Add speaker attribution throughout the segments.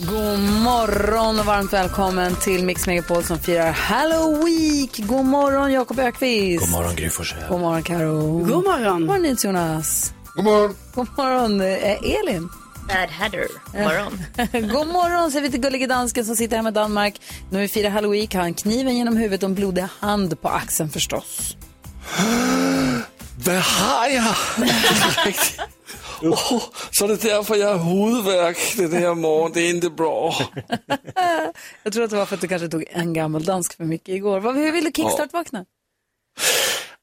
Speaker 1: God morgon och varmt välkommen till Mix Megapol som firar Halloween. God morgon Jakob Ökvist. God morgon Gry Forssell. God morgon Karo. God morgon. God morgon Jonas. God morgon. God morgon eh, Elin.
Speaker 2: Bad Hatter. Morgon.
Speaker 1: God morgon säger vi till gullige dansken som sitter hemma i Danmark. När vi firar Halloween har han kniven genom huvudet och en blodig hand på axeln förstås.
Speaker 3: Hvad har jeg? oh, så er det derfor, jeg har hovedværk den her morgen. Det er ikke bra.
Speaker 1: Jag tror att det var för att du kanske tog en gammal dansk för mycket igår. Vad- Hur vill du kickstart-vakna?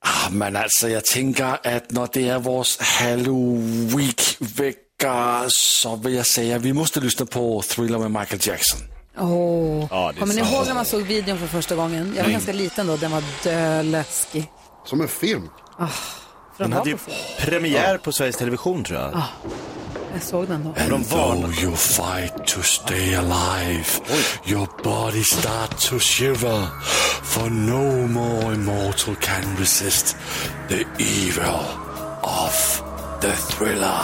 Speaker 3: Ah, men altså, jeg tænker, at når det er vores Halloween vækker, så vil jeg sige, at vi måste lyssna på Thriller med Michael Jackson.
Speaker 1: Åh,
Speaker 3: Ja, det är
Speaker 1: Kommer ni
Speaker 3: sant.
Speaker 1: ihåg när man såg videon för första gången? Jag var
Speaker 3: Mm.
Speaker 1: ganska liten då, den var döläskig.
Speaker 4: Som en film.
Speaker 1: För
Speaker 5: Den
Speaker 1: att
Speaker 5: hade ju
Speaker 1: vara på film.
Speaker 5: premiär på Sveriges Television tror jag.
Speaker 1: Jag såg den då.
Speaker 5: De
Speaker 3: Though you fight to stay alive, your body start to shiver, for no more immortal can resist the evil of the thriller.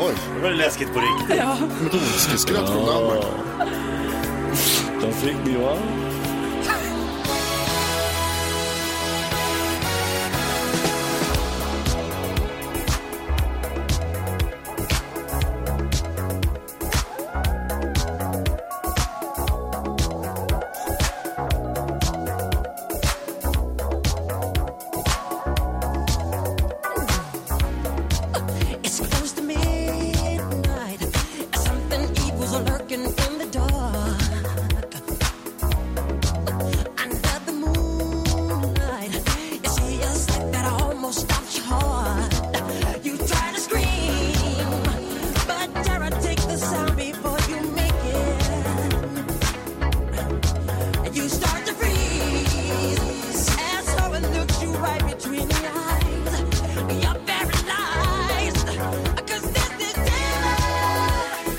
Speaker 4: Oj.
Speaker 5: Det var läskigt på riktigt.
Speaker 1: Ja.
Speaker 4: Ett ondskeskratt från Danmark.
Speaker 3: De fick mig va?
Speaker 6: It's close to midnight. Something evil's lurking in the dark. Under the moonlight, you see a sight that almost stops your heart. You try to scream, but dare I take the sound before you make it? And you start to freeze as someone looks you right between the eyes. You're paralyzed. 'Cause this is daylight,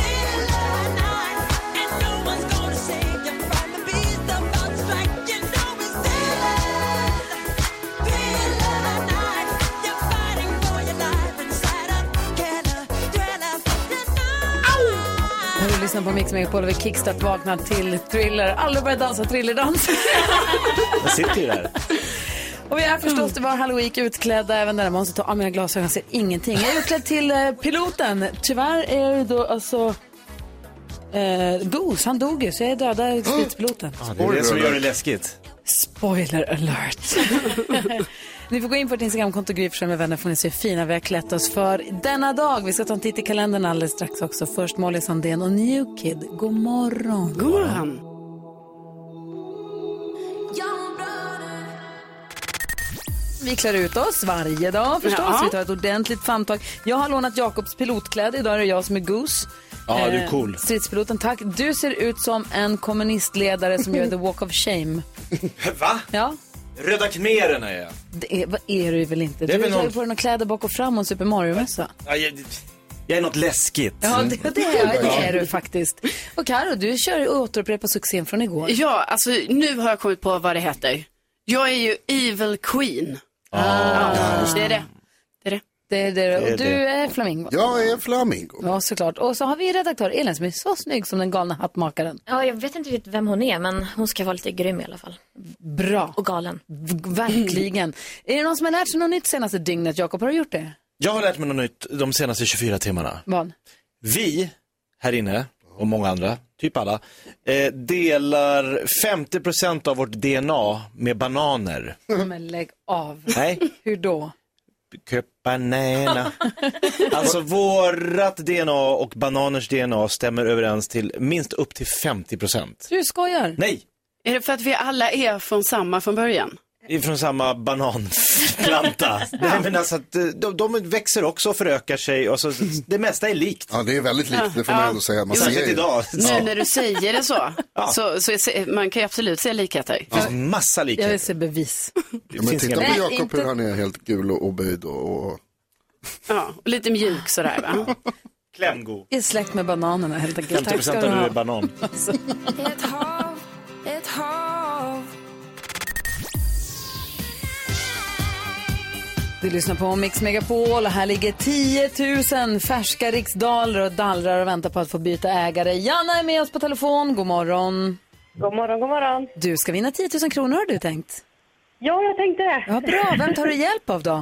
Speaker 6: daylight night. And no one's gonna save you from the beast about strike. You know it's daylight, daylight night. You're fighting for your life inside a killer, thriller.
Speaker 1: När du lyssnar på Mix Megapol och vi kickstart vaknar till thriller. Alla börjar dansa thrillerdans.
Speaker 5: Jag sitter ju där.
Speaker 1: och vi är förstås det var halloween utklädda även där. Man måste ta av mina glasögon, jag ser ingenting. Jag är utklädd till eh, piloten. Tyvärr är det då alltså eh, Goose, han dog ju så jag är döda stridspiloten.
Speaker 5: Det är det som gör det läskigt.
Speaker 1: Spoiler alert. ni får gå in på vårt Instagramkonto Gry Forssell med vänner får ni se hur fina vi har klätt oss för denna dag. Vi ska ta en titt i kalendern alldeles strax också. Först Molly Sandén och New Kid. God morgon. God morgon. Vi klär ut oss varje dag förstås.
Speaker 7: Ja.
Speaker 1: Vi tar ett ordentligt famntag. Jag har lånat Jakobs pilotkläder. Idag är det jag som är Goose.
Speaker 5: Ja,
Speaker 1: Eh,
Speaker 5: du är cool.
Speaker 1: Stridspiloten, tack. Du ser ut som en kommunistledare som gör the walk of shame.
Speaker 5: Va?
Speaker 1: Ja.
Speaker 5: Röda khmererna är jag.
Speaker 1: Det är, vad är du väl inte?
Speaker 5: Det är
Speaker 1: Du
Speaker 5: väl
Speaker 1: har ju
Speaker 5: någon-
Speaker 1: på dig några kläder bak och fram och en Super Mario-mössa.
Speaker 5: Ja, jag. Jag är något läskigt.
Speaker 1: Ja, det, det, är, det är du faktiskt. Och Karo, du kör och återupprepar succén från igår.
Speaker 7: Ja, alltså nu har jag kommit på vad det heter. Jag är ju Evil Queen. Ja, det är det. Det är det.
Speaker 1: Det är det. Och
Speaker 7: Det
Speaker 1: du
Speaker 7: är det.
Speaker 1: är flamingo.
Speaker 4: Jag är flamingo.
Speaker 1: Ja, såklart. Och så har vi redaktör Elin som är så snygg som den galna hattmakaren.
Speaker 2: Ja, jag vet inte riktigt vem hon är, men hon ska vara lite grym i alla fall.
Speaker 1: Bra.
Speaker 2: Och galen.
Speaker 1: Verkligen. Är det någon som har lärt sig något nytt senaste dygnet, Jakob? Har du gjort det?
Speaker 5: Jag har lärt mig något nytt de senaste 24 timmarna.
Speaker 1: Vad?
Speaker 5: Vi här inne och många andra, typ alla, eh, delar 50% av vårt DNA med bananer.
Speaker 1: Men lägg av.
Speaker 5: Nej.
Speaker 1: Hur då?
Speaker 5: köpa näna. alltså vårat DNA och bananers DNA stämmer överens till minst upp till 50 procent.
Speaker 1: Du skojar.
Speaker 5: Nej,
Speaker 6: Är det för att vi alla är från samma från början?
Speaker 5: ifrån samma bananplanta. Nej men alltså att eh, de, de växer också och förökar sig och så, det mesta är likt.
Speaker 4: Ja, det är väldigt likt, det får man ändå säga. Man ser
Speaker 5: Särskilt
Speaker 4: ju.
Speaker 5: idag.
Speaker 6: Nu när du säger det så, så, så är, man kan ju absolut se likheter.
Speaker 5: Det finns massa
Speaker 1: Jag vill
Speaker 5: likheter.
Speaker 1: se bevis.
Speaker 5: Det
Speaker 4: Ja, men
Speaker 5: finns
Speaker 4: titta
Speaker 5: inga...
Speaker 4: på
Speaker 1: Nej,
Speaker 4: Jakob
Speaker 1: inte-
Speaker 4: hur han är helt gul och oböjd och... och...
Speaker 6: Ja, och lite mjuk sådär va?
Speaker 5: Klämgo.
Speaker 1: Jag är släkt med bananerna helt enkelt.
Speaker 5: 50
Speaker 1: Tack ska
Speaker 5: procent
Speaker 1: du
Speaker 5: av du
Speaker 1: ha.
Speaker 5: är banan.
Speaker 8: Ett hav, ett hav
Speaker 1: Du lyssnar på Mix Megapol och här ligger 10 000 färska riksdaler och dallrar och väntar på att få byta ägare. Janna är med oss på telefon. God morgon.
Speaker 9: God morgon, god morgon.
Speaker 1: Du ska vinna 10 000 kronor har du tänkt.
Speaker 9: Ja, jag tänkte det.
Speaker 1: Ja, bra. Vem tar du hjälp av då?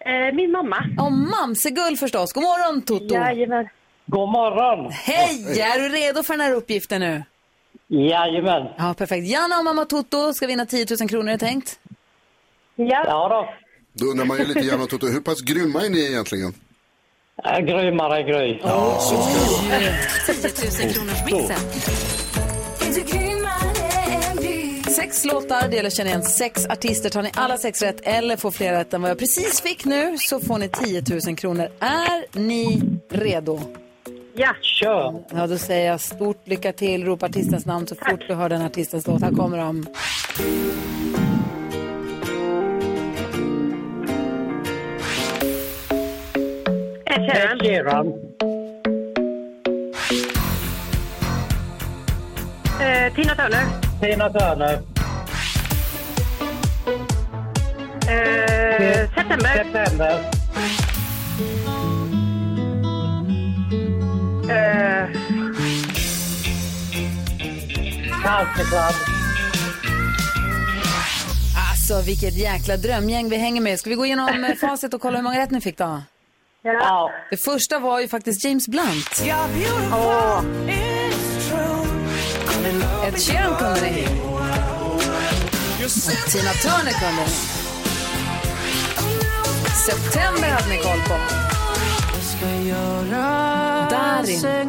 Speaker 9: Eh, min mamma.
Speaker 1: Ja, Mamsegull förstås. God morgon Toto.
Speaker 9: Jajamän. God morgon.
Speaker 1: Hej! Är du redo för den här uppgiften nu?
Speaker 9: Jajamän.
Speaker 1: Ja, perfekt. Janna och mamma Toto ska vinna 10 000 kronor har du tänkt.
Speaker 9: Ja. ja då.
Speaker 4: Då undrar man ju lite grann, Toto, hur pass grymma är ni egentligen?
Speaker 9: Eh, Grymare gry.
Speaker 8: Är du grymmare än gry?
Speaker 1: Sex låtar, det gäller att känna igen sex artister. Tar ni alla sex rätt eller får fler rätt än vad jag precis fick nu så får ni 10 000 kronor. Är ni redo?
Speaker 9: Ja. Kör.
Speaker 1: Ja, då säger jag stort lycka till. Ropa artistens namn så fort du hör den artistens låt. Här kommer de.
Speaker 9: Ed Sheeran. Eh, Tina Turner. Tina Turner. Eh, September. September. Eh. Cancerklubb.
Speaker 1: Alltså, vilket jäkla drömgäng vi hänger med. Ska vi gå igenom eh, facit och kolla hur många rätt ni fick då?
Speaker 9: Ja.
Speaker 1: Det första var ju faktiskt James Blunt. Ed Sheeran kunde ni. Tina Turner kunde ni. September hade ni koll på. Darin.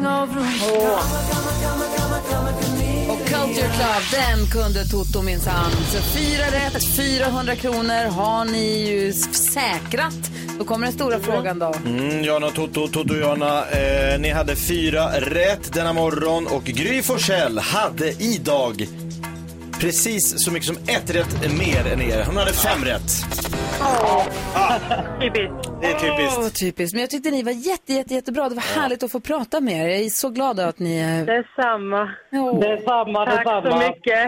Speaker 1: Och Culture Club, den kunde Toto minsann. Så fyra rätt, 400 kronor har ni ju s- säkrat. Då kommer den stora frågan då.
Speaker 5: Mm, Jana och Toto, Toto och Jana, eh, ni hade fyra rätt denna morgon och Gry Forssell hade idag precis så mycket som ett rätt mer än er. Hon hade fem rätt. Ah.
Speaker 9: Typiskt.
Speaker 5: Det är
Speaker 1: Åh,
Speaker 5: typiskt.
Speaker 1: typiskt. Men jag tyckte ni var jätte, jätte, jättebra. Det var härligt att få prata med er. Jag är så glad att ni eh,
Speaker 9: Detsamma.
Speaker 1: Åh.
Speaker 9: Detsamma, Tack detsamma. så mycket.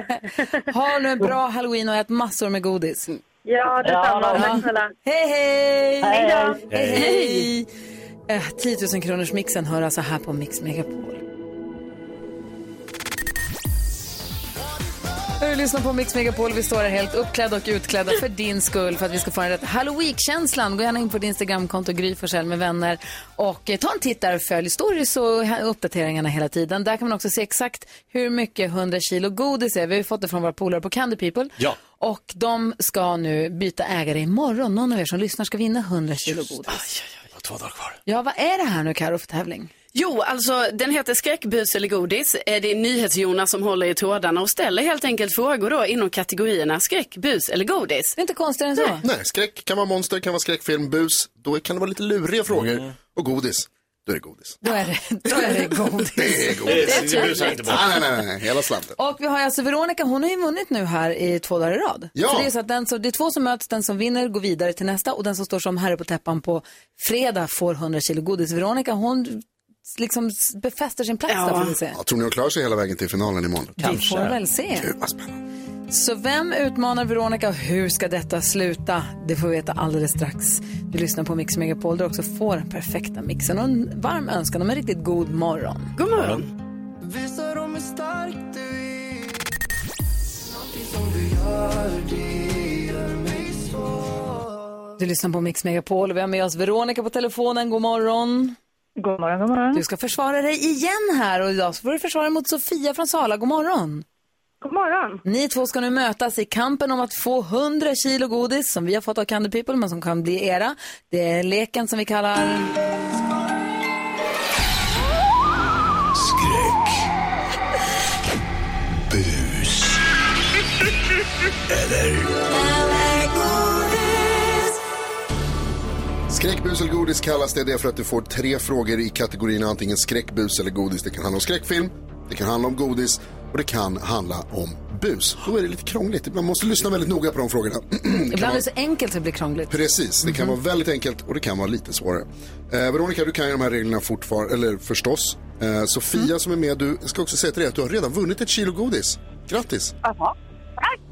Speaker 1: har nu en bra halloween och ät massor med godis.
Speaker 9: Mm. Ja, detsamma.
Speaker 1: Ja.
Speaker 9: Tack snälla.
Speaker 1: Hej, hej!
Speaker 9: Hej då.
Speaker 1: Hej, hej! Eh, 10 000 kronors mixen hör alltså här på Mix Megapol. Du lyssnar på Mix Megapol. Vi står här helt uppklädda och utklädda för din skull för att vi ska få den rätt halloween-känslan. Gå gärna in på ditt Instagramkonto Gry Forssell med vänner och eh, ta en titt där och följ stories och ha- uppdateringarna hela tiden. Där kan man också se exakt hur mycket 100 kilo godis är. Vi har ju fått det från våra polare på Candy People.
Speaker 5: Ja.
Speaker 1: Och de ska nu byta ägare imorgon. Någon av er som lyssnar ska vinna 100 kilo godis.
Speaker 5: Och Två dagar kvar.
Speaker 1: Ja, vad är det här nu Karo för tävling?
Speaker 6: Jo, alltså den heter Skräckbus eller godis. Eh, Det är NyhetsJonas som håller i trådarna och ställer helt enkelt frågor då inom kategorierna skräck, bus eller godis.
Speaker 1: Det är inte konstigare än så.
Speaker 4: Nej, skräck kan vara monster, kan vara skräckfilm, bus. Då kan det vara lite luriga frågor. Och godis, då är det godis.
Speaker 1: Då är det, då är det godis.
Speaker 4: Det är godis.
Speaker 5: Det busar inte bort.
Speaker 4: Nej, nej, nej, nej, hela slanten.
Speaker 1: Och vi har ju alltså Veronica, hon har ju vunnit nu här i två dagar i rad.
Speaker 4: Ja.
Speaker 1: Så det är så att den som, det är två som möts, den som vinner går vidare till nästa och den som står som herre på täppan på fredag får 100 kilo godis. Veronica, hon liksom s- befäster sin plats
Speaker 6: Ja.
Speaker 1: där får vi se.
Speaker 4: Ja, tror ni hon klarar sig hela vägen till finalen imorgon?
Speaker 1: Vi får väl se.
Speaker 4: Gud, vad spännande.
Speaker 1: Så vem utmanar Veronica och hur ska detta sluta? Det får vi veta alldeles strax. Du lyssnar på Mix Megapol där du också får den perfekta mixen och en varm önskan om en riktigt god morgon.
Speaker 6: God morgon.
Speaker 8: Visa dem hur stark du är
Speaker 1: Du lyssnar på Mix Megapol och vi har med oss Veronica på telefonen. God morgon.
Speaker 9: God morgon, god morgon.
Speaker 1: Du ska försvara dig igen här och idag så får du försvara dig mot Sofia från Sala. God morgon.
Speaker 9: God morgon.
Speaker 1: Ni två ska nu mötas i kampen om att få 100 kilo godis som vi har fått av Candy People men som kan bli era. Det är leken som vi kallar...
Speaker 8: Skräck. Bus. Eller?
Speaker 4: Skräck, bus eller godis kallas det. Det är för att du får tre frågor i kategorin antingen skräck, bus eller godis. Det kan handla om skräckfilm, det kan handla om godis och det kan handla om bus. Då är det lite krångligt. Man måste lyssna väldigt noga på de frågorna. Det kan
Speaker 1: Ibland är
Speaker 4: vara-
Speaker 1: det så enkelt så det blir krångligt.
Speaker 4: Precis, det kan
Speaker 1: Mhm.
Speaker 4: vara väldigt enkelt och det kan vara lite svårare. Eh, Veronica, du kan ju de här reglerna fortfarande, eller förstås. Eh, Sofia
Speaker 1: Mm.
Speaker 4: som är med, du jag ska också säga till dig att du har redan vunnit ett kilo godis. Grattis!
Speaker 9: Jaha.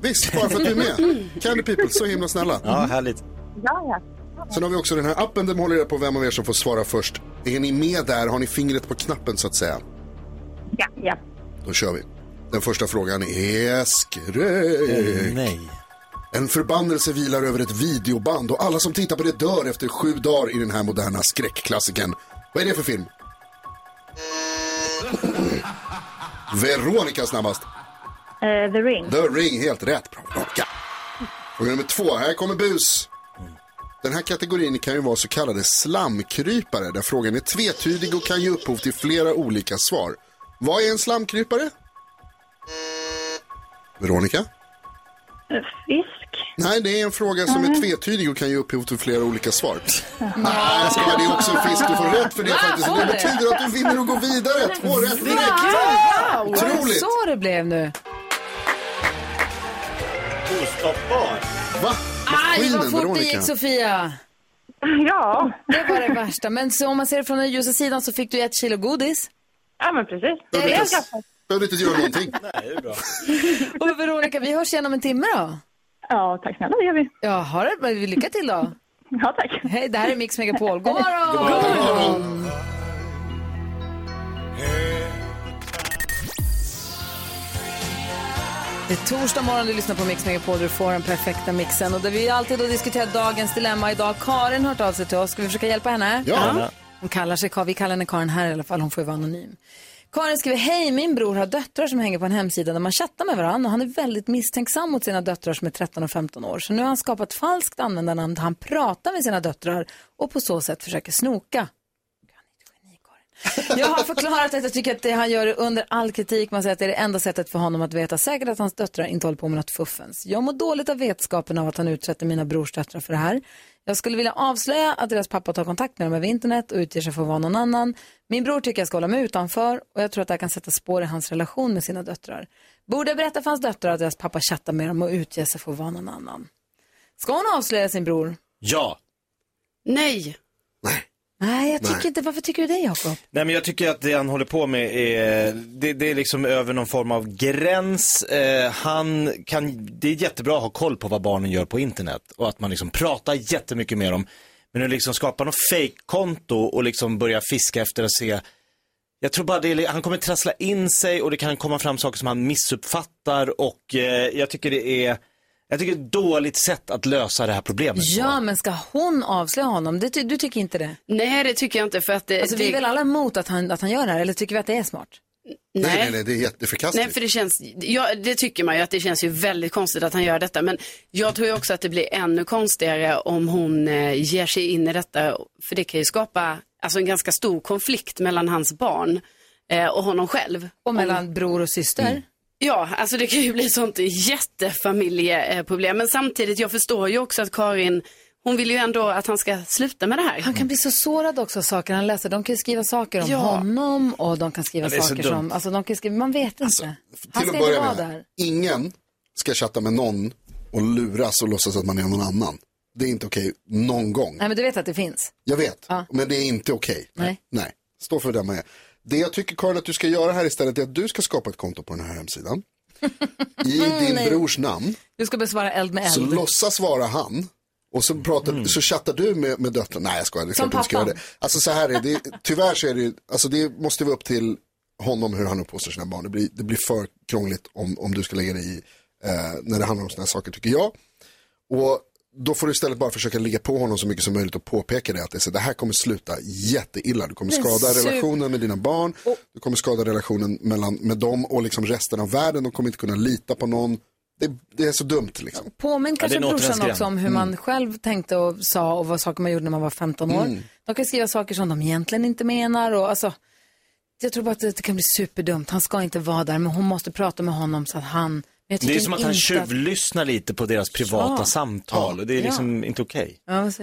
Speaker 4: Visst, bara för att du är med. Candy People, så himla snälla.
Speaker 5: Ja, härligt.
Speaker 9: Ja, ja.
Speaker 4: Sen har vi också den här appen där man håller reda på vem av er som får svara först. Är ni med där? Har ni fingret på knappen så att säga?
Speaker 9: Ja, ja.
Speaker 4: Då kör vi. Den första frågan är skräck. nej. En förbannelse vilar över ett videoband och alla som tittar på det dör efter sju dagar i den här moderna skräckklassikern. Vad är det för film? Veronica snabbast.
Speaker 9: Eh, the Ring.
Speaker 4: The Ring, helt rätt. Bra, Veronica. Fråga nummer två, här kommer bus. Den här kategorin kan ju vara så kallade slamkrypare där frågan är tvetydig och kan ge upphov till flera olika svar. Vad är en slamkrypare? Veronica?
Speaker 9: Fisk.
Speaker 4: Nej, det är en fråga som är tvetydig och kan ge upphov till flera olika svar. Nej, jag skojar. Det är också en fisk. Du får rätt för det faktiskt. Det betyder att du vinner och går vidare. Två rätt direkt. Otroligt.
Speaker 1: Så det blev nu.
Speaker 5: Ostoppbar.
Speaker 4: Va?
Speaker 1: Aj, vad fort det
Speaker 4: Veronica.
Speaker 1: gick Sofia.
Speaker 9: Ja.
Speaker 1: Det var det värsta. Men så om man ser det från den ljusa sidan så fick du ett kilo godis.
Speaker 9: Ja, men precis.
Speaker 1: Det är
Speaker 4: Behövde
Speaker 1: det.
Speaker 4: inte- behövde inte göra någonting.
Speaker 1: Och Veronica, vi hörs igen om en timme då.
Speaker 9: Ja, tack snälla, det gör vi.
Speaker 1: Ja, ha det. men Lycka till då.
Speaker 9: Ja, tack.
Speaker 1: Hej, det här är Mix Megapol. God
Speaker 8: God
Speaker 1: morgon!
Speaker 8: morgon. God
Speaker 1: Det är torsdag morgon, du lyssnar på Mix Megapol, du får den perfekta mixen. Och där vi alltid då diskuterar dagens dilemma. Idag Karin har hört av sig till oss, ska vi försöka hjälpa henne?
Speaker 8: Ja. Gärna.
Speaker 1: Hon kallar sig Karin, vi kallar henne Karin här i alla fall, hon får ju vara anonym. Karin skriver, hej min bror har döttrar som hänger på en hemsida där man chattar med varandra och han är väldigt misstänksam mot sina döttrar som är 13 och 15 år. Så nu har han skapat ett falskt användarnamn där han pratar med sina döttrar och på så sätt försöker snoka. Jag har förklarat att jag tycker att det han gör är under all kritik. Man säger att det är det enda sättet för honom att veta säkert att hans döttrar inte håller på med något fuffens. Jag mår dåligt av vetskapen av att han utsätter mina brors döttrar för det här. Jag skulle vilja avslöja att deras pappa tar kontakt med dem över internet och utger sig för att vara någon annan. Min bror tycker jag ska hålla mig utanför och jag tror att det här kan sätta spår i hans relation med sina döttrar. Borde jag berätta för hans döttrar att deras pappa chattar med dem och utger sig för att vara någon annan? Ska hon avslöja sin bror?
Speaker 5: Ja.
Speaker 6: Nej.
Speaker 1: Nej, jag tycker
Speaker 5: Nej.
Speaker 1: inte. Varför tycker du det, Jakob?
Speaker 5: Nej men jag tycker att det han håller på med är, det, det är liksom över någon form av gräns. Eh, han kan, det är jättebra att ha koll på vad barnen gör på internet och att man liksom pratar jättemycket med dem. Men nu liksom skapar något fake-konto och liksom börjar fiska efter att se. Jag tror bara det är, han kommer trassla in sig och det kan komma fram saker som han missuppfattar och eh, jag tycker det är, jag tycker det är ett dåligt sätt att lösa det här problemet.
Speaker 1: Ja, men ska hon avslöja honom? Det, ty- du tycker inte det?
Speaker 6: Nej, det tycker jag inte för att eh, det...
Speaker 1: Alltså, vi är väl alla emot att han, att han gör det här, eller tycker vi att det är smart?
Speaker 4: Nej, nej, nej, det är jätteförkastligt.
Speaker 6: Nej, för det känns, ja, det tycker man ju att det känns ju väldigt konstigt att han gör detta. Men jag tror ju också att det blir ännu konstigare om hon eh, ger sig in i detta. För det kan ju skapa alltså, en ganska stor konflikt mellan hans barn eh, och honom själv.
Speaker 1: Och mellan bror och syster.
Speaker 4: Mm.
Speaker 6: Ja, alltså det kan ju bli sånt jättefamiljeproblem. Men samtidigt, jag förstår ju också att Karin, hon vill ju ändå att han ska sluta med det här.
Speaker 1: Han kan bli så sårad också av saker han läser. De kan ju skriva saker om
Speaker 6: Ja.
Speaker 1: honom och de kan skriva
Speaker 4: Ja, det är så
Speaker 1: saker
Speaker 4: dumt.
Speaker 1: som, alltså de kan skriva, man vet inte. han
Speaker 4: Till
Speaker 1: ska
Speaker 4: att
Speaker 1: inte
Speaker 4: börja
Speaker 1: vara
Speaker 4: med,
Speaker 1: där.
Speaker 4: ingen ska chatta med någon och luras och låtsas att man är någon annan. Det är inte okej någon gång.
Speaker 1: Nej, men du vet att det finns.
Speaker 4: Jag vet,
Speaker 1: Ja.
Speaker 4: men det är inte okej.
Speaker 1: Nej.
Speaker 4: Nej, stå för det man är. Det jag tycker Karin att du ska göra här istället är att du ska skapa ett konto på den här hemsidan. I din
Speaker 1: Nej.
Speaker 4: brors namn.
Speaker 1: Du ska besvara eld med
Speaker 4: Så
Speaker 1: eld.
Speaker 4: låtsas vara han. Och så, pratar, så chattar du med, med döttrarna. Nej jag skojar, det är
Speaker 1: Som
Speaker 4: klart du inte ska göra
Speaker 1: pappan.
Speaker 4: det. Alltså så här är det, tyvärr så är det ju- alltså det måste vara upp till honom hur han uppfostrar sina barn. Det blir, det blir för krångligt om, om du ska lägga dig i eh, när det handlar om sådana här saker tycker jag. Och Då får du istället bara försöka ligga på honom så mycket som möjligt och påpeka det att det, är så, det här kommer sluta jätteilla. Du kommer
Speaker 10: Men
Speaker 4: skada
Speaker 10: super-
Speaker 4: relationen med dina barn, du kommer skada relationen mellan, med dem och liksom resten av världen. De kommer inte kunna lita på någon. Det, det är så dumt liksom.
Speaker 1: Påminn
Speaker 4: Ja,
Speaker 1: kanske
Speaker 4: det är en
Speaker 1: brorsan
Speaker 4: återvändsgränd.
Speaker 1: också om hur
Speaker 11: Mm.
Speaker 1: man själv tänkte och sa och vad saker man gjorde när man var 15 år.
Speaker 4: Mm.
Speaker 1: De kan skriva saker som de egentligen inte menar och alltså, jag tror bara att det kan bli superdumt. Han ska inte vara där, men hon måste prata med honom så att han... Men jag
Speaker 11: Det är
Speaker 1: tycker
Speaker 11: som att han
Speaker 1: inte
Speaker 11: tjuvlyssnar lite på deras privata
Speaker 1: Ja.
Speaker 11: samtal och det är
Speaker 6: Ja.
Speaker 11: liksom inte okej.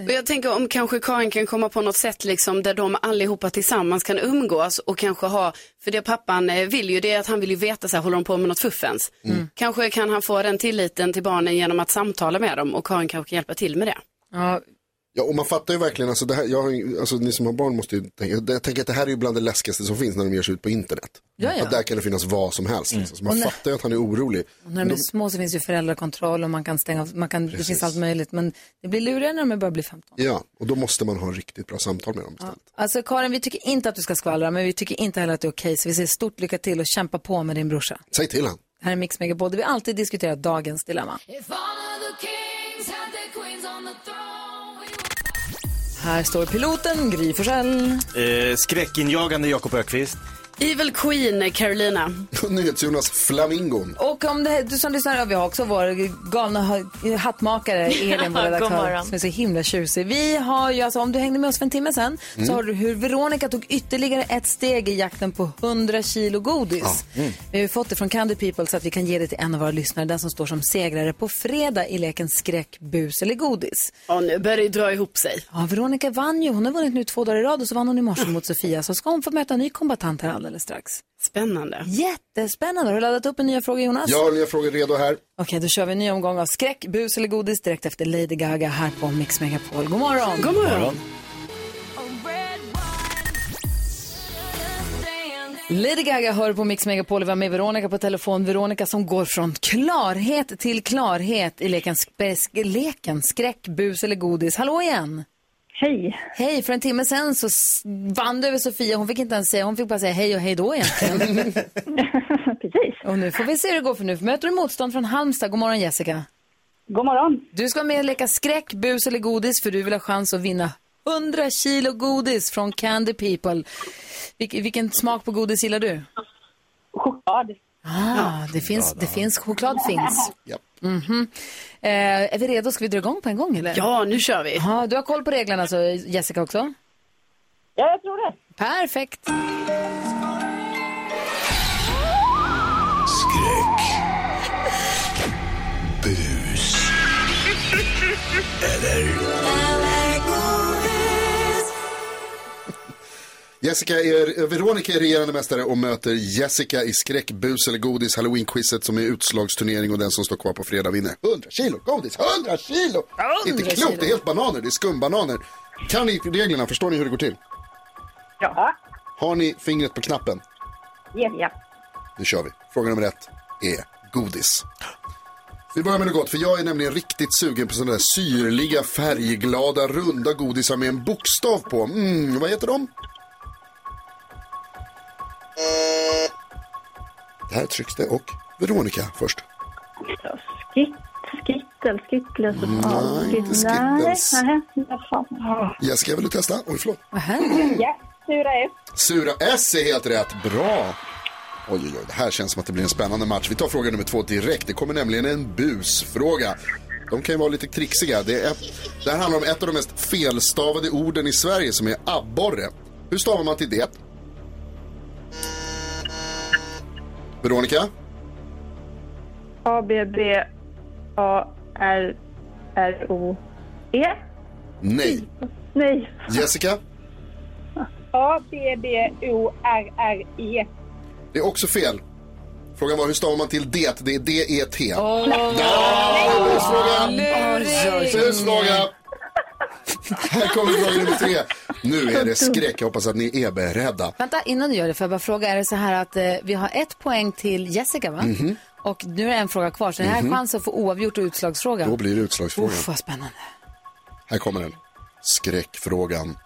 Speaker 6: Och jag tänker om kanske Karin kan komma på något sätt liksom där de allihopa tillsammans kan umgås och kanske ha, för det pappan eh, vill ju det är att han vill ju veta så här, håller de på med något fuffens? Kanske kan han få den tilliten till barnen genom att samtala med dem och Karin kanske kan hjälpa till med det.
Speaker 1: Ja.
Speaker 4: Ja, och man fattar ju verkligen, alltså, det här, jag, har ju- alltså ni som har barn måste ju tänka, jag tänker att det här är ju bland det läskigaste som finns när de ger sig ut på internet.
Speaker 1: Ja, ja. Mm.
Speaker 4: Att där kan det finnas vad som helst. Liksom. Så man
Speaker 1: Och när-
Speaker 4: fattar ju att han är orolig.
Speaker 1: Och när de är små så finns ju föräldrakontroll och man kan stänga av, man kan, det finns allt möjligt. Men det blir lurigare när de börjar bli 15.
Speaker 4: Ja, och då måste man ha riktigt bra samtal med dem.
Speaker 1: Ja. Alltså Karin, vi tycker inte att du ska skvallra, men vi tycker inte heller att det är okej. Så vi säger stort lycka till och kämpa på med din brorsa.
Speaker 4: Säg till han.
Speaker 1: Det här är Mix Megapol, där vi alltid diskuterar dagens dilemma.
Speaker 8: If all of the kings had their queens on the throne, we would...
Speaker 1: Här står piloten Gry Forssell.
Speaker 5: Eh, skräckinjagande Jakob Ökvist.
Speaker 6: Evil Queen, Carolina.
Speaker 4: NyhetsJonas Flamingon.
Speaker 1: Och om det, här- du som lyssnar, vi har också vår galna ha- hattmakare Elin, vår
Speaker 12: God
Speaker 1: redaktör,
Speaker 12: morgon.
Speaker 1: som är så himla tjusig. Vi har ju, alltså, om du hängde med oss för en timme sedan, så
Speaker 12: Mm.
Speaker 1: har du hur Veronica tog ytterligare ett steg i jakten på 100 kilo godis.
Speaker 12: mm.
Speaker 1: Vi har ju fått det från Candy People så att vi kan ge det till en av våra lyssnare, den som står som segrare på fredag i leken skräck, bus eller godis.
Speaker 6: Ja, nu börjar det ju dra ihop sig.
Speaker 1: Ja, Veronica vann ju. Hon har vunnit nu två dagar i rad och så vann hon i morse mot Sofia. Så ska hon få möta en ny kombatant här alldeles strax.
Speaker 6: Spännande.
Speaker 1: Jättespännande. Har du laddat upp en nya fråga Jonas?
Speaker 4: Jag har nya frågor redo här.
Speaker 1: Okej, då kör vi en ny omgång av skräck, bus eller godis direkt efter Lady Gaga här på Mix Megapol. God morgon!
Speaker 6: God morgon.
Speaker 1: Lady Gaga hör på Mix Megapol och var med Veronica på telefon. Veronica som går från klarhet till klarhet i leken, spe- sk- leken skräck, bus eller godis. Hallå igen!
Speaker 9: Hej!
Speaker 1: Hej! För en timme sen så s- vann du över Sofia. Hon fick inte ens säga, hon fick bara säga hej och hej då egentligen.
Speaker 9: Precis.
Speaker 1: Och nu får vi se hur det går för nu möter du motstånd från Halmstad. God morgon Jessica!
Speaker 9: God morgon!
Speaker 1: Du ska vara med och leka skräck, bus eller godis för du vill ha chans att vinna 100 kilo godis från Candy People. Vilk, vilken smak på godis gillar du?
Speaker 9: Choklad.
Speaker 1: Ah, det finns, det finns, choklad finns.
Speaker 4: Japp.
Speaker 1: Mhm. Eh, är vi redo? Ska vi dra igång på en gång eller?
Speaker 6: Ja, nu kör vi.
Speaker 1: Ja, du har koll på reglerna så Jessica också?
Speaker 9: Ja, jag tror det.
Speaker 1: Perfekt.
Speaker 8: Skräck.
Speaker 3: Bus. Eller?
Speaker 4: Jessica är, eh, Veronica är regerande mästare och möter Jessica i skräck, bus eller godis, halloween-quizet som är utslagsturnering och den som står kvar på fredag vinner. 100 kilo godis, 100 kilo! Inte klokt, det är helt bananer, det är skumbananer. Kan ni reglerna, förstår ni hur det går till?
Speaker 9: Ja.
Speaker 4: Har ni fingret på knappen?
Speaker 9: Ja, ja.
Speaker 4: Nu kör vi. Fråga nummer ett är godis. Vi börjar med något gott, för jag är nämligen riktigt sugen på sådana där syrliga, färgglada, runda godisar med en bokstav på. Mm, vad heter de? Det här trycks det och Veronica först.
Speaker 9: Skit, skittel, skittles och
Speaker 4: Mm, Nej, inte Skittles.
Speaker 9: Nej, nej, vad fan. Ja.
Speaker 4: Jessica, vill du testa? Oj, förlåt.
Speaker 9: Ja, sura är.
Speaker 4: Sura S är helt rätt. Bra. Oj, oj, oj, det här känns som att det blir en spännande match. Vi tar fråga nummer två direkt. Det kommer nämligen en busfråga. De kan ju vara lite trixiga. Det, är ett, det här handlar om ett av de mest felstavade orden i Sverige som är abborre. Hur stavar man till det? Veronica?
Speaker 9: A, B, B, A, R, R, O, E.
Speaker 4: Nej.
Speaker 9: Nej.
Speaker 4: Jessica?
Speaker 9: A, B, B, O, R, R, E.
Speaker 4: Det är också fel. Frågan var hur stavar man till det? Det är E, D-E-T.
Speaker 8: Åh.
Speaker 4: Där! Busfrågan!
Speaker 8: Luring.
Speaker 4: Busfråga! Här kommer fråga nummer tre. Nu är det skräck. Jag hoppas att ni är beredda.
Speaker 1: Vänta, innan du gör det, får jag bara fråga, är det så här att eh, vi har ett poäng till Jessica va?
Speaker 4: Mhm.
Speaker 1: Och nu är det en fråga kvar, så det här är
Speaker 4: Mhm.
Speaker 1: chansen att få oavgjort och utslagsfråga.
Speaker 4: Då blir det utslagsfrågan.
Speaker 1: Uff, vad spännande.
Speaker 4: Här kommer den. Skräckfrågan.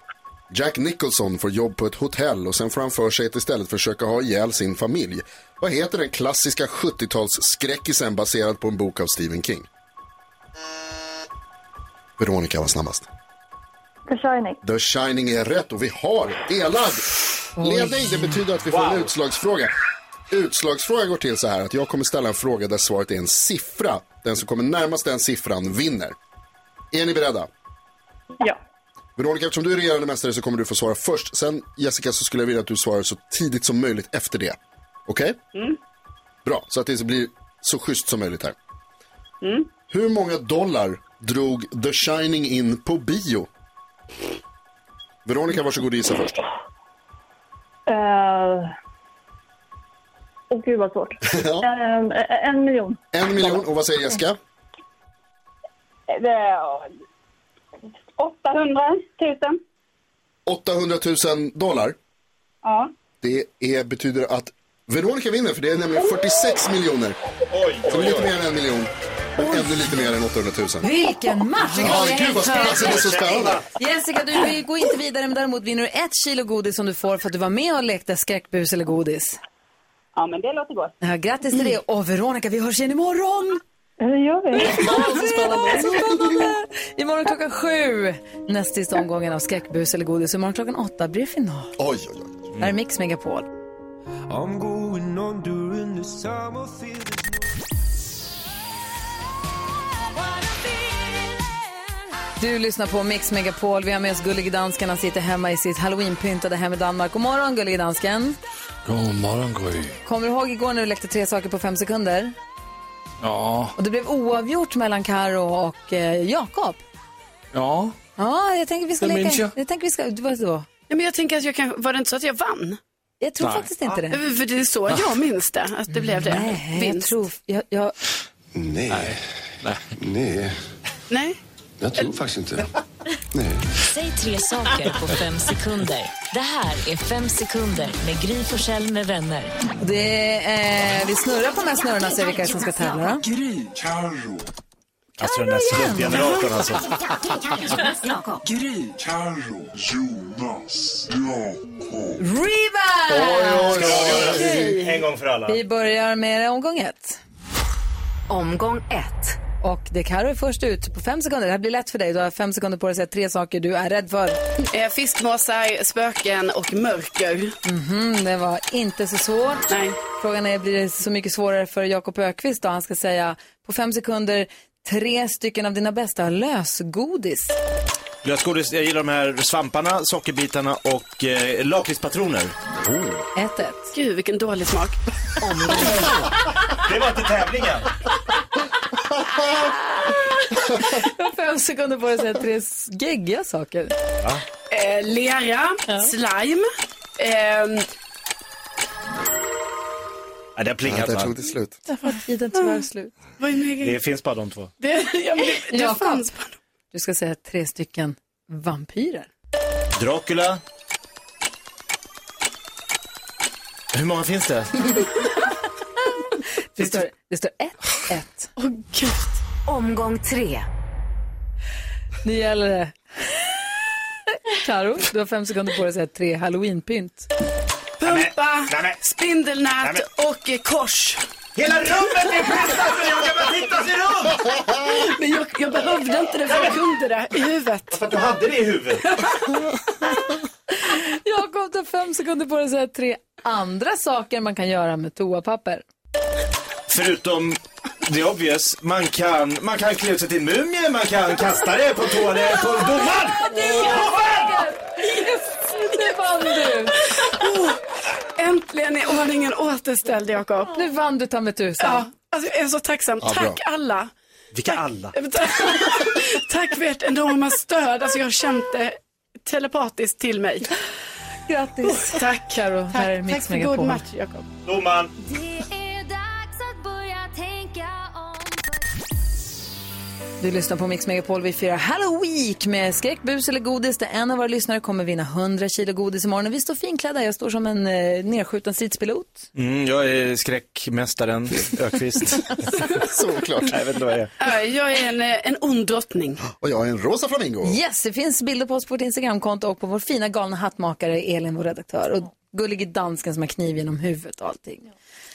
Speaker 4: Jack Nicholson får jobb på ett hotell och sen får han för sig att istället försöka ha ihjäl sin familj. Vad heter den klassiska 70-talsskräckisen baserad på en bok av Stephen King? Veronica var snabbast.
Speaker 10: The Shining.
Speaker 4: The Shining är rätt och vi har delad ledning. Det betyder att vi får en utslagsfråga. Utslagsfrågan går till så här att jag kommer ställa en fråga där svaret är en siffra. Den som kommer närmast den siffran vinner. Är ni beredda?
Speaker 9: Ja.
Speaker 4: Veronica, eftersom du är regerande mästare så kommer du få svara först. Sen Jessica så skulle jag vilja att du svarar så tidigt som möjligt efter det. Okej?
Speaker 9: Mm.
Speaker 4: Bra, så att det blir så schysst som möjligt här.
Speaker 9: Mm.
Speaker 4: Hur många dollar drog The Shining in på bio? Veronica, varsågod och gissa först.
Speaker 10: Eh, Åh gud vad svårt. Ehm, eh, en miljon.
Speaker 4: En miljon, och vad säger Jessica?
Speaker 9: Det är 800 000.
Speaker 4: 800 000 dollar.
Speaker 9: Ja.
Speaker 4: Det är, betyder att Veronica vinner, för det är nämligen 46 miljoner. Så lite mer än en miljon, men ännu lite mer än 800 000.
Speaker 1: Vilken match!
Speaker 4: Ja, gud, vad spännande. Det är så spännande.
Speaker 1: Jessica, du vi går inte vidare, men däremot vinner du ett kilo godis som du får för att du var med och lekte skräckbus eller godis.
Speaker 9: Ja, men det låter gott.
Speaker 1: Ja, grattis till det. Och Veronica, vi hörs igen imorgon! Ja, det gör vi. imorgon klockan sju. Näst sista omgången av skräckbus eller godis. Imorgon klockan åtta blir det final.
Speaker 4: Oj, oj, oj.
Speaker 1: Det här är Mix Megapol.
Speaker 8: I'm going on during the summer
Speaker 1: Du lyssnar på Mix Megapol. Vi har med oss Gullige Dansken. Han sitter hemma i sitt halloweenpyntade hem i Danmark. God morgon, Gullige Dansken.
Speaker 3: God morgon, Gry.
Speaker 1: Kommer du ihåg igår när du lekte tre saker på fem sekunder?
Speaker 3: Ja.
Speaker 1: Och det blev oavgjort mellan Karo och eh, Jakob.
Speaker 3: Ja.
Speaker 1: Ja, jag tänker vi ska
Speaker 6: Det
Speaker 1: leka.
Speaker 6: minns jag.
Speaker 1: jag tänker vi ska, vad då?
Speaker 6: Ja, men jag tänker att jag kan, var det inte så att jag vann?
Speaker 1: Jag tror Nej. faktiskt inte det.
Speaker 6: För det är så jag minns det, att det blev det.
Speaker 1: Ah. Nej, jag
Speaker 6: Vinst.
Speaker 1: tror, jag, jag,
Speaker 13: Nej. Nej. Nej.
Speaker 6: Nej.
Speaker 13: Jag tror faktiskt inte.
Speaker 2: Säg tre saker på fem sekunder. Det här är Fem sekunder med Gry Forssell med vänner.
Speaker 1: det, eh, vi snurrar på de här snurrorna och ser vilka som ska tävla. då.
Speaker 8: Gry. Carro.
Speaker 5: Alltså den där slumpgeneratorn alltså.
Speaker 8: Gry. Carro. Jonas. Jakob.
Speaker 1: Riva!
Speaker 5: Okej. En gång för alla.
Speaker 1: Vi börjar med omgång ett. Omgång ett. Och det Karo är först ut på fem sekunder. Det här blir lätt för dig. Du har fem sekunder på dig att säga tre saker du är rädd för.
Speaker 6: Eh, Fiskmåsar, spöken och mörker.
Speaker 1: Mhm, det var inte så svårt. Nej. Frågan är, blir det så mycket svårare för Jakob Ökvist då? Han ska säga på fem sekunder tre stycken av dina bästa lösgodis.
Speaker 5: Lösgodis, jag gillar de här svamparna, sockerbitarna och eh, lakritspatroner.
Speaker 1: Ett, ett.
Speaker 6: Gud, vilken dålig smak.
Speaker 5: Det var inte tävlingen.
Speaker 1: Du har fem sekunder på dig att säga tre s- geggiga saker.
Speaker 6: Eh, lera, slime. ehm,
Speaker 5: Nej, det har plingat va?
Speaker 4: Det är slut.
Speaker 1: Därför att tiden tyvärr är slut.
Speaker 6: Vad är min
Speaker 5: Det finns bara de två.
Speaker 6: Det, ja, men det, det
Speaker 1: Jakob.
Speaker 6: fanns på
Speaker 1: Du ska säga tre stycken vampyrer.
Speaker 5: Dracula. Hur många finns det?
Speaker 1: Det står, det står ett, ett. Åh gud. Omgång tre. Nu gäller det. Karo, du har fem sekunder på dig att säga tre halloweenpynt.
Speaker 6: pumpa, spindelnät och eh, kors.
Speaker 8: Hela rummet är
Speaker 6: festat
Speaker 8: festat nu, jag kan bara titta sig runt!
Speaker 6: Men jag, jag behövde inte det, för jag kunde det i huvudet.
Speaker 5: För att du hade det i huvudet.
Speaker 1: Jakob, du har fem sekunder på dig att säga tre andra saker man kan göra med toapapper.
Speaker 5: Förutom det obvious, man kan, man kan klä ut sig till mumie, man kan kasta det på toaletten, på domaren!
Speaker 1: Nu vann du!
Speaker 6: Oh, äntligen är ordningen återställd, Jakob.
Speaker 1: Nu vann du ta mig tusan.
Speaker 6: Ja, alltså, jag är så tacksam.
Speaker 5: Ja, bra.
Speaker 6: Tack alla.
Speaker 5: Vilka alla?
Speaker 6: Tack för ert enorma stöd. Alltså, jag har känt det telepatiskt till mig.
Speaker 1: Grattis.
Speaker 6: Oh, tack,
Speaker 1: Karo.
Speaker 6: Tack,
Speaker 1: Här är Mix
Speaker 6: tack för
Speaker 1: Megapol.
Speaker 6: god match, Jakob.
Speaker 5: Domaren.
Speaker 1: Du lyssnar på Mix Megapol. Vi firar Halloween med skräck, bus eller godis. Där en av våra lyssnare kommer vinna 100 kilo godis imorgon. Och vi står finklädda. Jag står som en eh, nedskjuten stridspilot.
Speaker 5: Mm, jag är skräckmästaren Ökvist.
Speaker 4: Såklart.
Speaker 5: Nej, jag vet inte vad jag är.
Speaker 6: Äh, Jag är en, eh, en ond drottning.
Speaker 4: Och jag är en rosa flamingo.
Speaker 1: Yes, det finns bilder på oss på vårt Instagramkonto och på vår fina galna hattmakare Elin, vår redaktör. Och
Speaker 12: gullig dansken som har kniv genom huvudet och allting.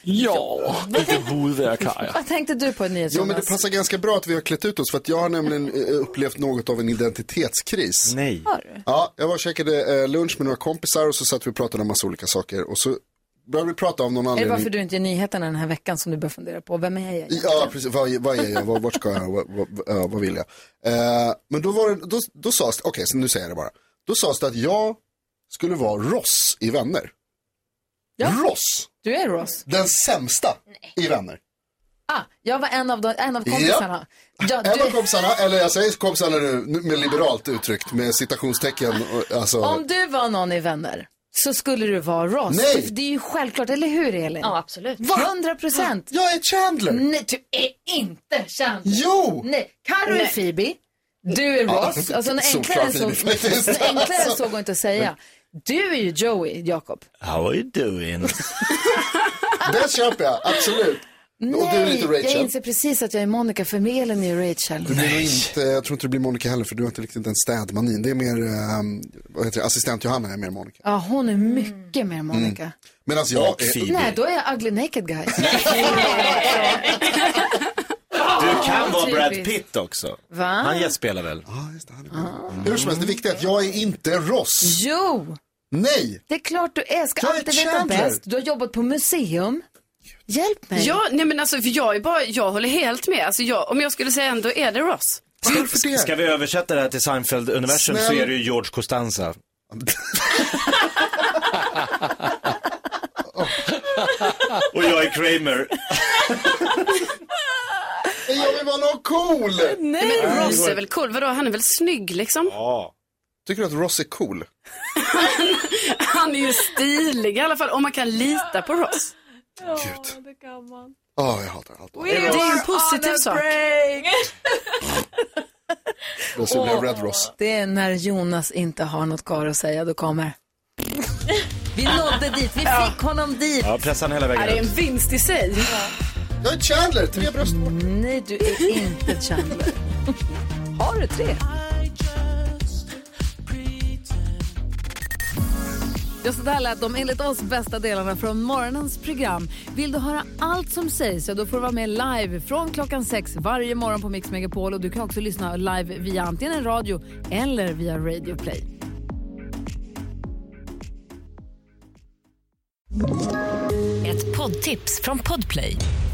Speaker 14: Ja, vilket huvudvärk har jag.
Speaker 1: Vad tänkte du på nyhets?
Speaker 4: Jo, men det passar ganska bra att vi har klätt ut oss för att jag har nämligen eh, upplevt något av en identitetskris.
Speaker 5: Nej.
Speaker 1: Har du?
Speaker 4: Ja, jag var och käkade eh, lunch med några kompisar och så satt vi och pratade om massa olika saker och så började vi prata om
Speaker 1: Är
Speaker 4: någon
Speaker 1: det
Speaker 4: anledning.
Speaker 1: varför du inte är nyheterna den här veckan som du bör fundera på? Vem är jag egentligen?
Speaker 4: Ja, precis. Vad, vad är jag? Vad- Vart ska jag? Vad, vad, ja, vad vill jag? Eh, men då, var det, då, då sades det, okej, så nu säger jag det bara. Då sades det att jag skulle vara Ross i Vänner. Ross!
Speaker 1: Du är Ross.
Speaker 4: Den sämsta i Vänner.
Speaker 1: Ah, jag var en av, de, en av kompisarna. Ja,
Speaker 4: En av
Speaker 1: du,
Speaker 4: kompisarna, eller jag säger kompisarna nu nu med liberalt uttryckt, med citationstecken. och, Alltså,
Speaker 1: om du var någon i Vänner så skulle du vara Ross.
Speaker 4: Nej.
Speaker 1: För Det är ju självklart, eller hur Elin? Ja, absolut. 100 procent.
Speaker 4: Jag är Chandler.
Speaker 1: Nej, du är inte Chandler.
Speaker 4: Jo!
Speaker 1: Nej, Carro är
Speaker 4: Nej.
Speaker 1: Phoebe. Du är
Speaker 4: Ja,
Speaker 1: Ross. Alltså, en
Speaker 4: solklar
Speaker 1: enklare, än så,
Speaker 4: Phoebe faktiskt.
Speaker 1: en enklare än
Speaker 4: Alltså.
Speaker 1: så går inte att säga. Du är ju Joey, Jakob.
Speaker 5: How are you doing?
Speaker 4: Den köper jag, absolut. och du är lite
Speaker 1: Nej, jag
Speaker 4: Rachel. Mm.
Speaker 1: inser precis att jag är Monica, för mig eller är ju Rachel.
Speaker 4: Du blir nog inte, jag tror inte du blir Monica heller för du har inte riktigt den städmanin. Det är mer, ehm, vad heter det, assistent Johanna är mer Monica.
Speaker 1: Ja, hon är mycket
Speaker 4: Mm.
Speaker 1: mer Monica.
Speaker 4: Medan jag
Speaker 5: Och
Speaker 4: är...
Speaker 1: Nej, då är jag ugly naked guy.
Speaker 5: Du kan vara
Speaker 1: Typiskt.
Speaker 5: Brad Pitt också.
Speaker 1: Va?
Speaker 5: Han gästspelar väl?
Speaker 4: Hur som helst, det viktiga är att jag är inte Ross.
Speaker 1: Jo!
Speaker 4: Nej!
Speaker 1: Det är klart du är. Ska
Speaker 6: Jag är
Speaker 1: alltid veta
Speaker 6: Chandler.
Speaker 1: bäst. Du har jobbat på museum. Hjälp mig.
Speaker 6: Ja, nej men alltså för jag är bara, jag håller helt med. Alltså jag, om jag skulle säga ändå är det Ross.
Speaker 5: Ska vi översätta det här till Seinfeld-universum så
Speaker 6: Snäll.
Speaker 5: är det ju George Costanza. Och jag är Kramer.
Speaker 4: Jag vill vara någon cool!
Speaker 6: Nej, men Ross är väl cool? Vadå, han är väl snygg liksom?
Speaker 5: Ja.
Speaker 4: Tycker du att Ross är cool?
Speaker 6: Han är ju stilig i alla fall, om man kan lita på Ross.
Speaker 4: Gud. Ja, jag hatar allt.
Speaker 6: Det är ju en positiv sak.
Speaker 4: Då så blir jag Red Ross.
Speaker 1: Det är när Jonas inte har något kvar att säga, då kommer... Vi nådde dit, vi fick honom dit.
Speaker 5: Ja, pressa han hela vägen ut.
Speaker 1: vinst i sig.
Speaker 4: Jag är Chandler, tre bröstvårtor.
Speaker 1: Nej, du är inte Chandler. Har du tre? Ja, så där lät de enligt oss bästa delarna från morgonens program. Vill du höra allt som sägs så då får du vara med live från klockan sex varje morgon på Mix Megapol. Och du kan också lyssna live via antingen radio eller via Radio Play.
Speaker 2: Ett poddtips från Podplay.